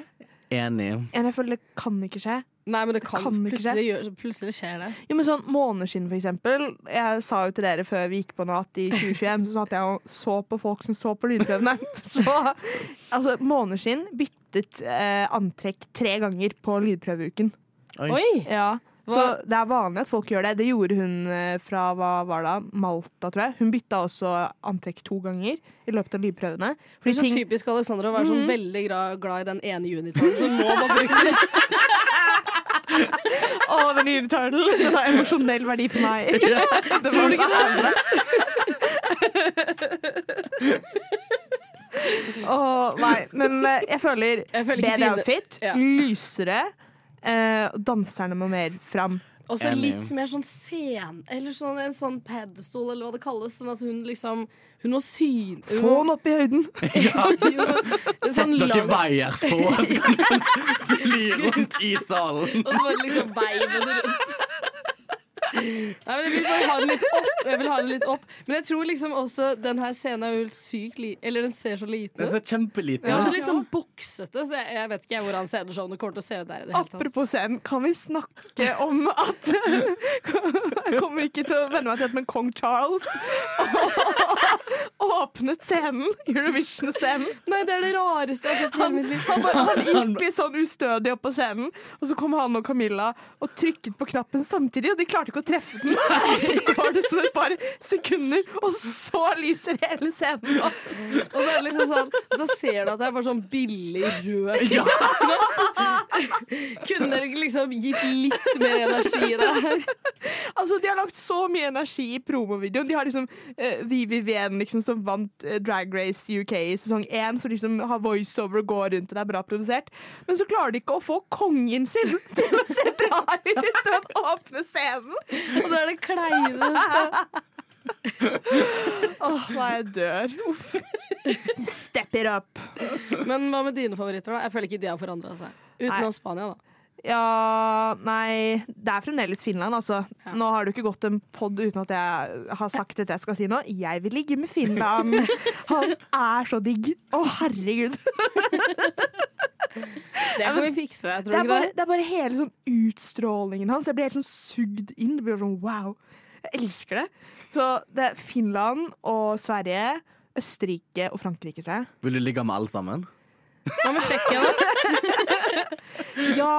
Enig.
Men Jeg føler det kan ikke skje.
Nei, men det kan,
Kan ikke
plutselig, gjør, plutselig skjer det.
Jo, men sånn Måneskinn, for eksempel. Jeg sa jo til dere før vi gikk på nå at i 2021 så satt jeg og så på folk som så på lydprøvene. Så altså, Måneskinn byttet eh, antrekk tre ganger på lydprøveuken.
Oi.
Oi!
Ja. Så det er vanlig at folk gjør det. Det gjorde hun eh, fra hva var det, da? Malta, tror jeg. Hun bytta også antrekk to ganger i løpet av lydprøvene.
Det er sånn
Fordi
så
ting, Mm.
typisk Alexandra å være sånn veldig glad, glad i den ene unitoren, så må man bruke den.
å, den nye turtle! Den har emosjonell verdi for meg. det var det. Åh, nei, men eh, jeg føler,
Jeg føler ikke
bedre
dine-
outfit,
Ja.
lysere, eh, og danserne må mer fram.
Og så
Enig.
litt mer sånn scen, eller sånn, en sånn pedestal, eller hva det kalles. Sånn at hun liksom Hun må syn...
Få den opp i høyden!
Sett
Sett noen vaiers på, så kan du fly rundt i salen.
Og så bare liksom veiver det rundt. Nei, men jeg vil bare ha den litt opp. Jeg vil ha den litt opp. Men jeg tror liksom også den her scenen er jo helt sykt liten. Eller den ser så liten
Den
ut.
ser kjempeliten
Ja,
ut.
så litt sånn boksete, så jeg, jeg vet ikke hvordan sceneshowene kommer til å se ut der i det hele tatt.
Apropos scenen, kan vi snakke om at Jeg kommer ikke til å venne meg til at men kong Charles åpnet scenen, Eurovision-scenen.
Nei, det er det rareste jeg har sett i hele mitt liv.
Han, bare- han gikk litt sånn ustødig opp på scenen, og så kom han og Camilla og trykket på knappen samtidig, og de klarte ikke å treffe den. Og så går det sånn et par sekunder, og så lyser hele scenen opp.
Og så er det liksom sånn Så ser du at det er bare sånn billig rød
Ja.
Kunne dere ikke liksom gitt litt mer energi i det her?
Altså, De har lagt så mye energi i promovideoen. De har liksom eh, Vivi Ven, liksom, som vant eh, Drag Race UK i sesong én, som liksom har voiceover og går rundt og det er bra produsert. Men så klarer de ikke å få kongen sin til å se bra ut til den åpne scenen!
Og det er det kleineste.
Åh, nei, jeg dør. Uff. Step it up.
Men hva med dine favoritter, da? Jeg føler ikke de har forandra seg. Utenom Spania, da.
Ja Nei, det er fremdeles Finland, altså.
Ja.
Nå har det jo ikke gått en pod uten at jeg har sagt dette jeg skal si nå. Jeg vil ligge med Finland! Han er så digg! Å, herregud.
Det kan vi fikse, jeg
Det
tror
er,
ikke
bare,
det.
det er bare hele sånn utstrålingen hans. Jeg blir helt sånn sugd inn. Det blir sånn wow. Jeg elsker det. Så det er Finland og Sverige, Østerrike og Frankrike, tror jeg.
Vil du ligge med alle sammen?
Hva med Tsjekkia, da?
Ja,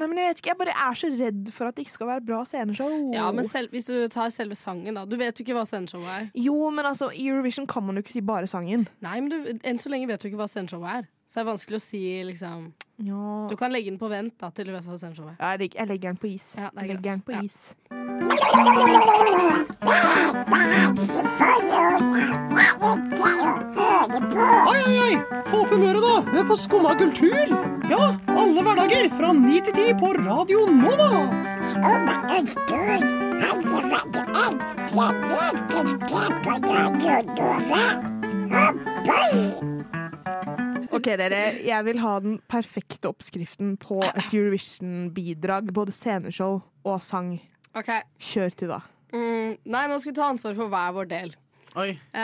nei, men jeg vet ikke. Jeg bare er så redd for at det ikke skal være bra sceneshow.
Ja, men selv, hvis du tar selve sangen, da. Du vet jo ikke hva sceneshowet er.
jo, men altså, i Eurovision kan man jo ikke si bare sangen.
Nei, men du, enn så lenge vet du ikke hva sceneshowet er. Så det er vanskelig å si, liksom
Ja.
Du kan legge den på vent da, til du vet hva sceneshowet er.
Ja, Jeg legger, jeg legger den på is.
Ja, det er
Jeg legger
greit.
den på
Ja.
is.
Oi, oi, oi! Få opp humøret, da! Hør på Skumma kultur! Ja, alle hverdager fra ni til ti på Radio Nova!
Ok, dere. Jeg vil ha den perfekte oppskriften på et Eurovision-bidrag. Både sceneshow og sang.
Ok,
Kjør, Tuva.
mm, Nei, nå skal vi ta ansvar for hver vår del.
Oi.
Eh,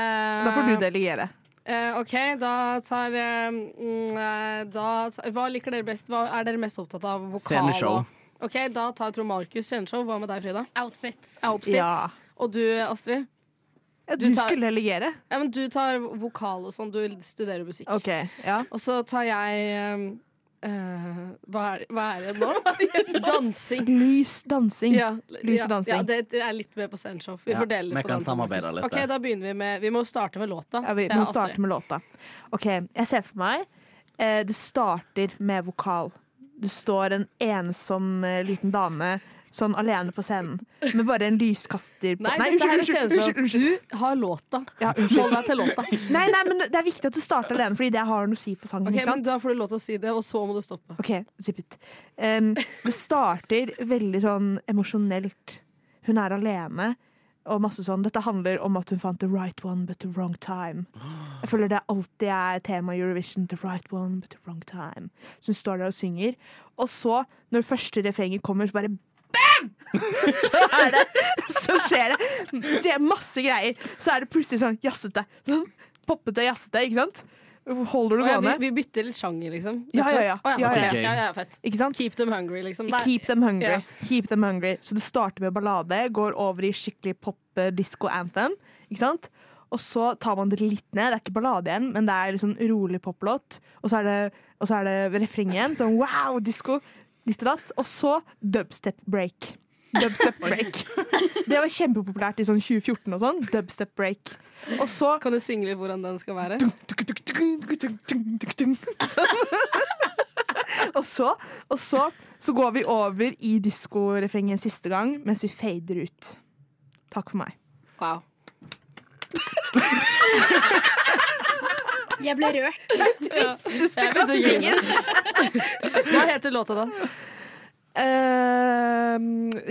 Da får du delegere.
Eh, OK, da tar eh, mm, eh, da, ta- Hva liker dere best? Hva er dere mest opptatt av? Vokal
Sceneshow.
og- OK, da tar jeg Tor Markus sceneshow. Hva med deg, Frida?
Outfits.
Outfits.
Ja.
Og du, Astrid?
Ja,
Du
du
tar-
skulle delegere.
Ja, men du tar vokal og sånn. Du studerer musikk.
Ok, ja.
Og så tar jeg eh, eh, hva, er, hva er det nå? Dansing.
Lys dansing.
Ja,
Lys
ja,
dansing.
ja, det er litt mer på sceneshow. Vi
Ja,
fordeler
vi
det på
kan
den, Tor
samarbeide
Markus.
litt
OK,
der.
da begynner vi med Vi må starte med låta.
Ja, vi
Det er
må
Astrid.
starte med låta. Ok, jeg ser for meg eh, Det starter med vokal. Det står en ensom eh, liten dame sånn alene på scenen med bare en lyskaster på
Nei,
Nei,
dette her er
unnskyld, unnskyld,
sceneshow.
unnskyld, unnskyld.
Du har låta.
Ja,
Hold deg til låta.
Nei, nei, men det er viktig at du starter alene, fordi det har noe å si for sangen.
Ok,
ikke
men
sant?
Da får du lov til å si det, og så må du stoppe.
Ok, zip it. Um, det starter veldig sånn emosjonelt. Hun er alene, og masse sånn. Dette handler om at hun fant the right one but the wrong time. Jeg føler det alltid er tema i Eurovision. The right one but the wrong time. Så hun står der og synger, og så, når første refrenget kommer, så bare så er det Så skjer det skjer masse greier. Så er det plutselig sånn jazzete. Sånn poppete, jazzete, ikke sant?
Å
Holder det
ja, vi,
gående.
vi bytter litt sjanger, liksom.
Ja, ja, ja.
Rett og slett. Å
Ja,
ok.
ja, ja.
ja, ja, fett.
Ikke sant?
Keep them hungry, liksom. Det er-
Keep them hungry.
Ja.
Keep them hungry. Så det starter med ballade, går over i skikkelig pop-disko-anthem. Ikke sant? Og så tar man det litt ned. Det er ikke ballade igjen, men det er litt sånn rolig poplåt. Og så er det, og så er det refreng igjen. Sånn wow, disko. Ditt og datt. Og så dubstep break. Dubstep break. Det var kjempepopulært i sånn 2014 og sånn. Dubstep break. Og så
Kan du synge litt hvordan den skal være?
Sånn. Og så, og så, så går vi over i diskorefrenget siste gang, mens vi fader ut. Takk for meg.
Wow.
Jeg ble rørt.
Jeg begynte å grine. Hva heter låta da?
Eh,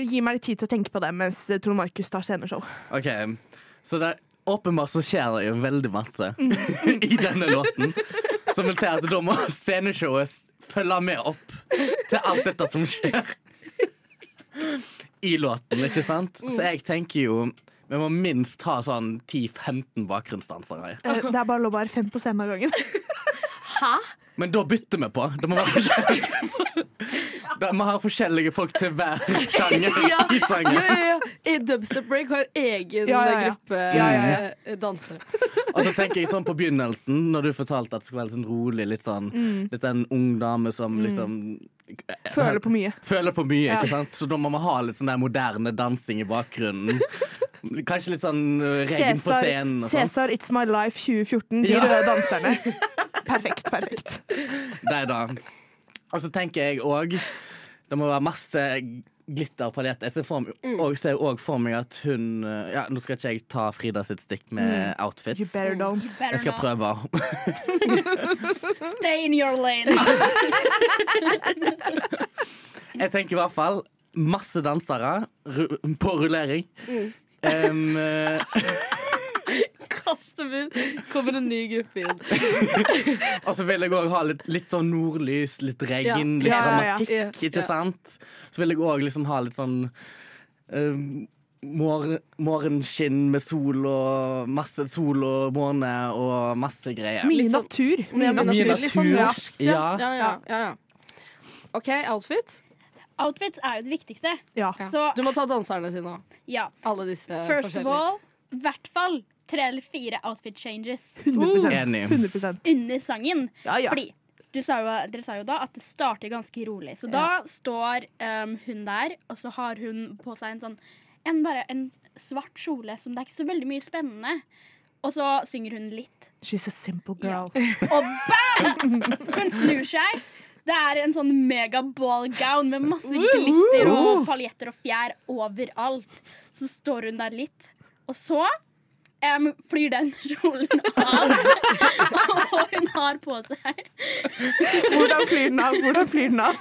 gi meg litt tid til å tenke på det mens eh, Trond Markus tar sceneshow.
Ok, så det er Åpenbart så skjer det jo veldig masse i denne låten. Som vil si at da må sceneshowet følge med opp til alt dette som skjer i låten, ikke sant? Så jeg tenker jo vi må minst ha sånn 10-15 bakgrunnsdansere.
Eh, det er bare lov å være fem på scenen av gangen.
Men da bytter vi på. Det må være forskjellige Da må ha forskjellige folk til hver sjanger
Ja.
i sangen.
Ja, ja, ja. Dubstep Break har egen
Ja, ja, ja.
gruppe eh, dansere.
Og så tenker jeg sånn på begynnelsen, når du fortalte at det skulle være litt sånn rolig, litt sånn
Mm.
Litt en ung dame som liksom
Føler på mye.
føler på mye,
Mm. Ja.
ikke sant? Så da må man ha litt sånn der moderne dansing i bakgrunnen. Kanskje litt sånn uh, regn på
Cæsar,
scenen og sånn. sånt.
Cæsar It's My Life 2014. De
Ja.
røde danserne. Perfekt, perfekt.
Det er da. Og så tenker jeg òg Det må være masse glitterpaljett. Jeg ser for meg,
Mm.
og ser òg for meg at hun uh, Ja, nå skal ikke jeg ta Frida sitt stikk med
Mm. You
outfits.
better don't.
Better
Jeg skal
not.
prøve.
Stay in your lane.
Jeg tenker i hvert fall masse dansere ru- på rullering.
Mm.
Em, eh,
Kaster vi Kommer en ny gruppe inn.
og så vil jeg òg ha litt, litt sånn nordlys, litt
Ja.
regn, litt
Ja, ja, ja.
dramatikk,
Ja,
ikke
ja.
sant? Så vil jeg òg liksom ha litt sånn eh, mor morgenskinn med sol og masse sol og måne og masse greier.
Mye
Litt sånn-
natur.
Ja, men
natur.
naturlig, Litt sånn
Natur.
raskt, ja.
Ja.
Ja, ja, ja, ja. OK, outfit.
Outfits er jo det viktigste.
Ja.
Ja.
Så-
Du må ta danserne sine òg.
Ja.
Alle disse
First of
forskjellige.
all, i hvert fall tre eller fire outfit changes
100,
Enig.
100
under sangen.
Ja, ja.
Fordi du sa jo, dere sa jo da at det starter ganske rolig. Så da står um, hun der, og så har hun på seg en sånn en, bare en svart kjole som det er ikke så veldig mye spennende. Og så synger hun litt.
She's a simple girl.
Og bam! Hun snur seg. Det er en sånn mega ball gown med masse glitter og paljetter og fjær overalt. Så står hun der litt, og så em, flyr den kjolen av. og hun har på seg
Hvordan flyr den av? Hvordan flyr den av?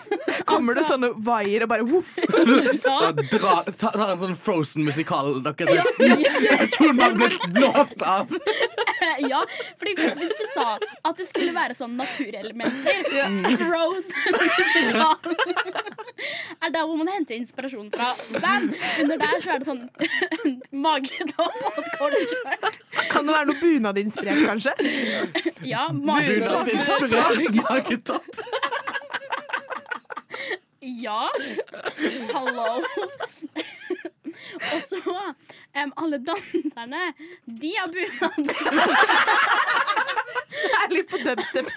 Kommer
Altså-
det sånne vaier og bare voff?
Og dra, ta, ta en sånn Frozen-musikal dere ser. Kjolen har blitt blåst av!
Ja, fordi hvis du sa at det skulle være sånn naturelementer Frozen-musikal er der hvor man henter inspirasjon fra. Bam! Under der så er det sånn magetopp og et kortskjørt.
Kan det være noe bunadinspirert, kanskje?
Ja,
Bunad.
magetopp.
Bunadsinspirert magetopp.
Ja. Hallo. og så em, alle danserne, de har bunad.
Ærlig på dubstep.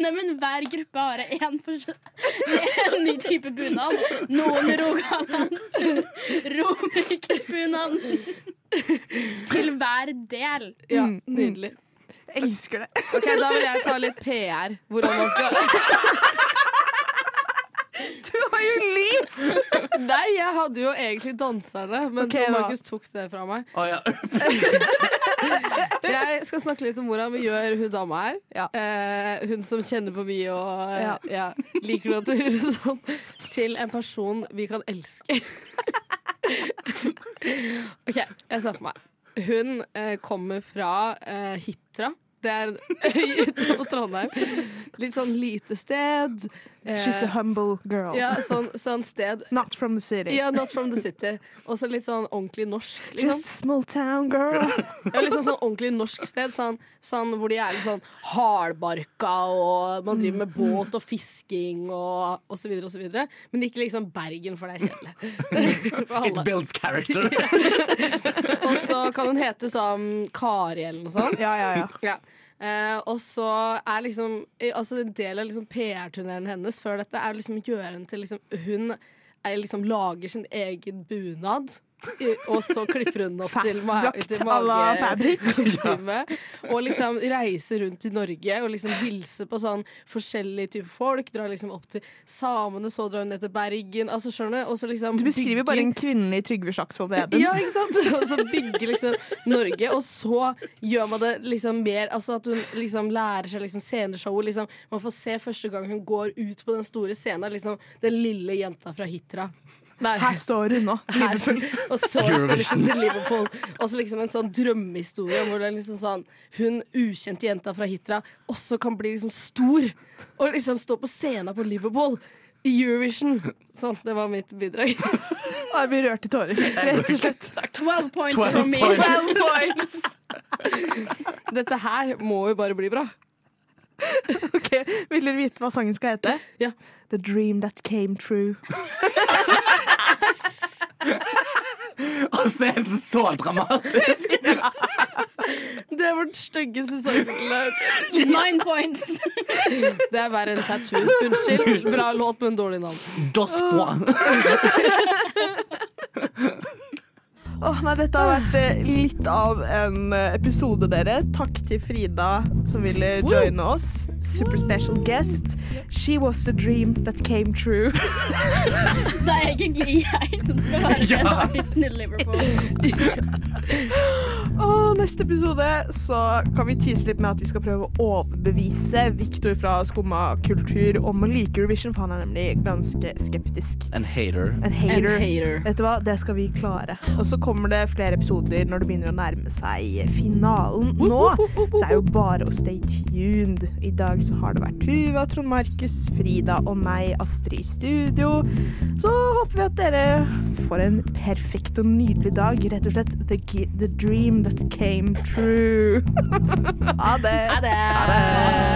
Nei, men hver gruppe har én ny type bunad. Noen rogalands, romikersbunad. Til hver del.
Ja, nydelig.
Jeg elsker det.
Ok, Da vil jeg ta litt PR. Hvordan man skal
Du har jo lys!
Nei, jeg hadde jo egentlig danserne, men
Ok, da.
Markus tok det fra meg.
Å, ja.
Jeg skal snakke litt om hvordan vi gjør hun dama her.
Ja.
Eh, hun som kjenner på mye og eh,
Ja.
ja, liker natur og sånn. Til en person vi kan elske. OK, jeg ser for meg. Hun eh, kommer fra eh, Hitra. Det er en øy utenfor Trondheim. Litt sånn lite sted. Eh,
She's a humble girl.
ja, sånn, sånn sted.
Not from the city.
Ja, not from the city. Og så litt sånn ordentlig norsk. Liksom.
Just a small town girl.
Ja, liksom sånn ordentlig norsk sted, sånn, sånn hvor de er litt sånn hardbarka, og man driver med båt og fisking og, og så videre og så videre. Men ikke liksom Bergen, for det er kjedelig. For
It
alle.
builds character.
Og så kan hun hete sånn Kari eller noe sånt.
Ja, ja, ja.
Ja. Eh, og så er liksom eh, altså En del av liksom PR-turneren hennes før dette er liksom å gjøre henne til liksom Hun er, liksom lager sin egen bunad. i- Og så klipper hun den opp til, ma
Fastdrakt
til
à la Fabrik.
magekostyme. Og liksom reiser rundt i Norge og liksom hilser på sånn forskjellige typer folk. Drar liksom opp til samene, så drar hun ned til Bergen. Altså skjønner du? Og så liksom
Du beskriver bare en kvinnelig Trygve Slagsvold Vedum.
ja, ikke sant? Og så bygge liksom Norge, og så gjør man det liksom mer Altså at hun liksom lærer seg liksom sceneshowet. Liksom. Man får se første gang hun går ut på den store scenen, liksom den lille jenta fra Hitra. Nei.
Her står hun nå.
Her, og så skal hun liksom til Liverpool. Og så liksom en sånn drømmehistorie om hvordan liksom sånn, hun ukjente jenta fra Hitra også kan bli liksom stor og liksom stå på scenen på Liverpool i Eurovision. Sånn, det var mitt bidrag.
Og jeg blir rørt i tårer, rett og slett.
12 points for
12
me.
points.
Well points.
Dette her må jo bare bli bra.
Ok, Vil dere vite hva sangen skal hete?
Ja.
The Dream That Came True.
Og så er den så dramatisk!
Det var den styggeste sangtittelen.
9 points.
Det er verre enn tattoo. Unnskyld. Bra låt, men dårlig navn.
Dos Bois.
Åh, nei, Dette har vært eh, litt av en eh, episode, dere. Takk til Frida som ville joine oss. Super special guest. She was the dream that came true.
Det er egentlig jeg som skal være den artisten i Liverpool.
Og neste episode så kan vi tease litt med at vi skal prøve å overbevise Victor fra Skumma kultur om å like Eurovision, for han er nemlig ganske skeptisk.
En hater.
En
En
hater.
hater.
Vet du hva, det skal vi klare. Og så kommer det flere episoder når det begynner å nærme seg finalen. Nå så er jo bare å stay tuned. I dag så har det vært Tuva, Trond Markus, Frida og meg, Astrid, i studio. Så håper vi at dere får en perfekt og nydelig dag. Rett og slett the, gi- the dream that came true. ha det.
Ha det.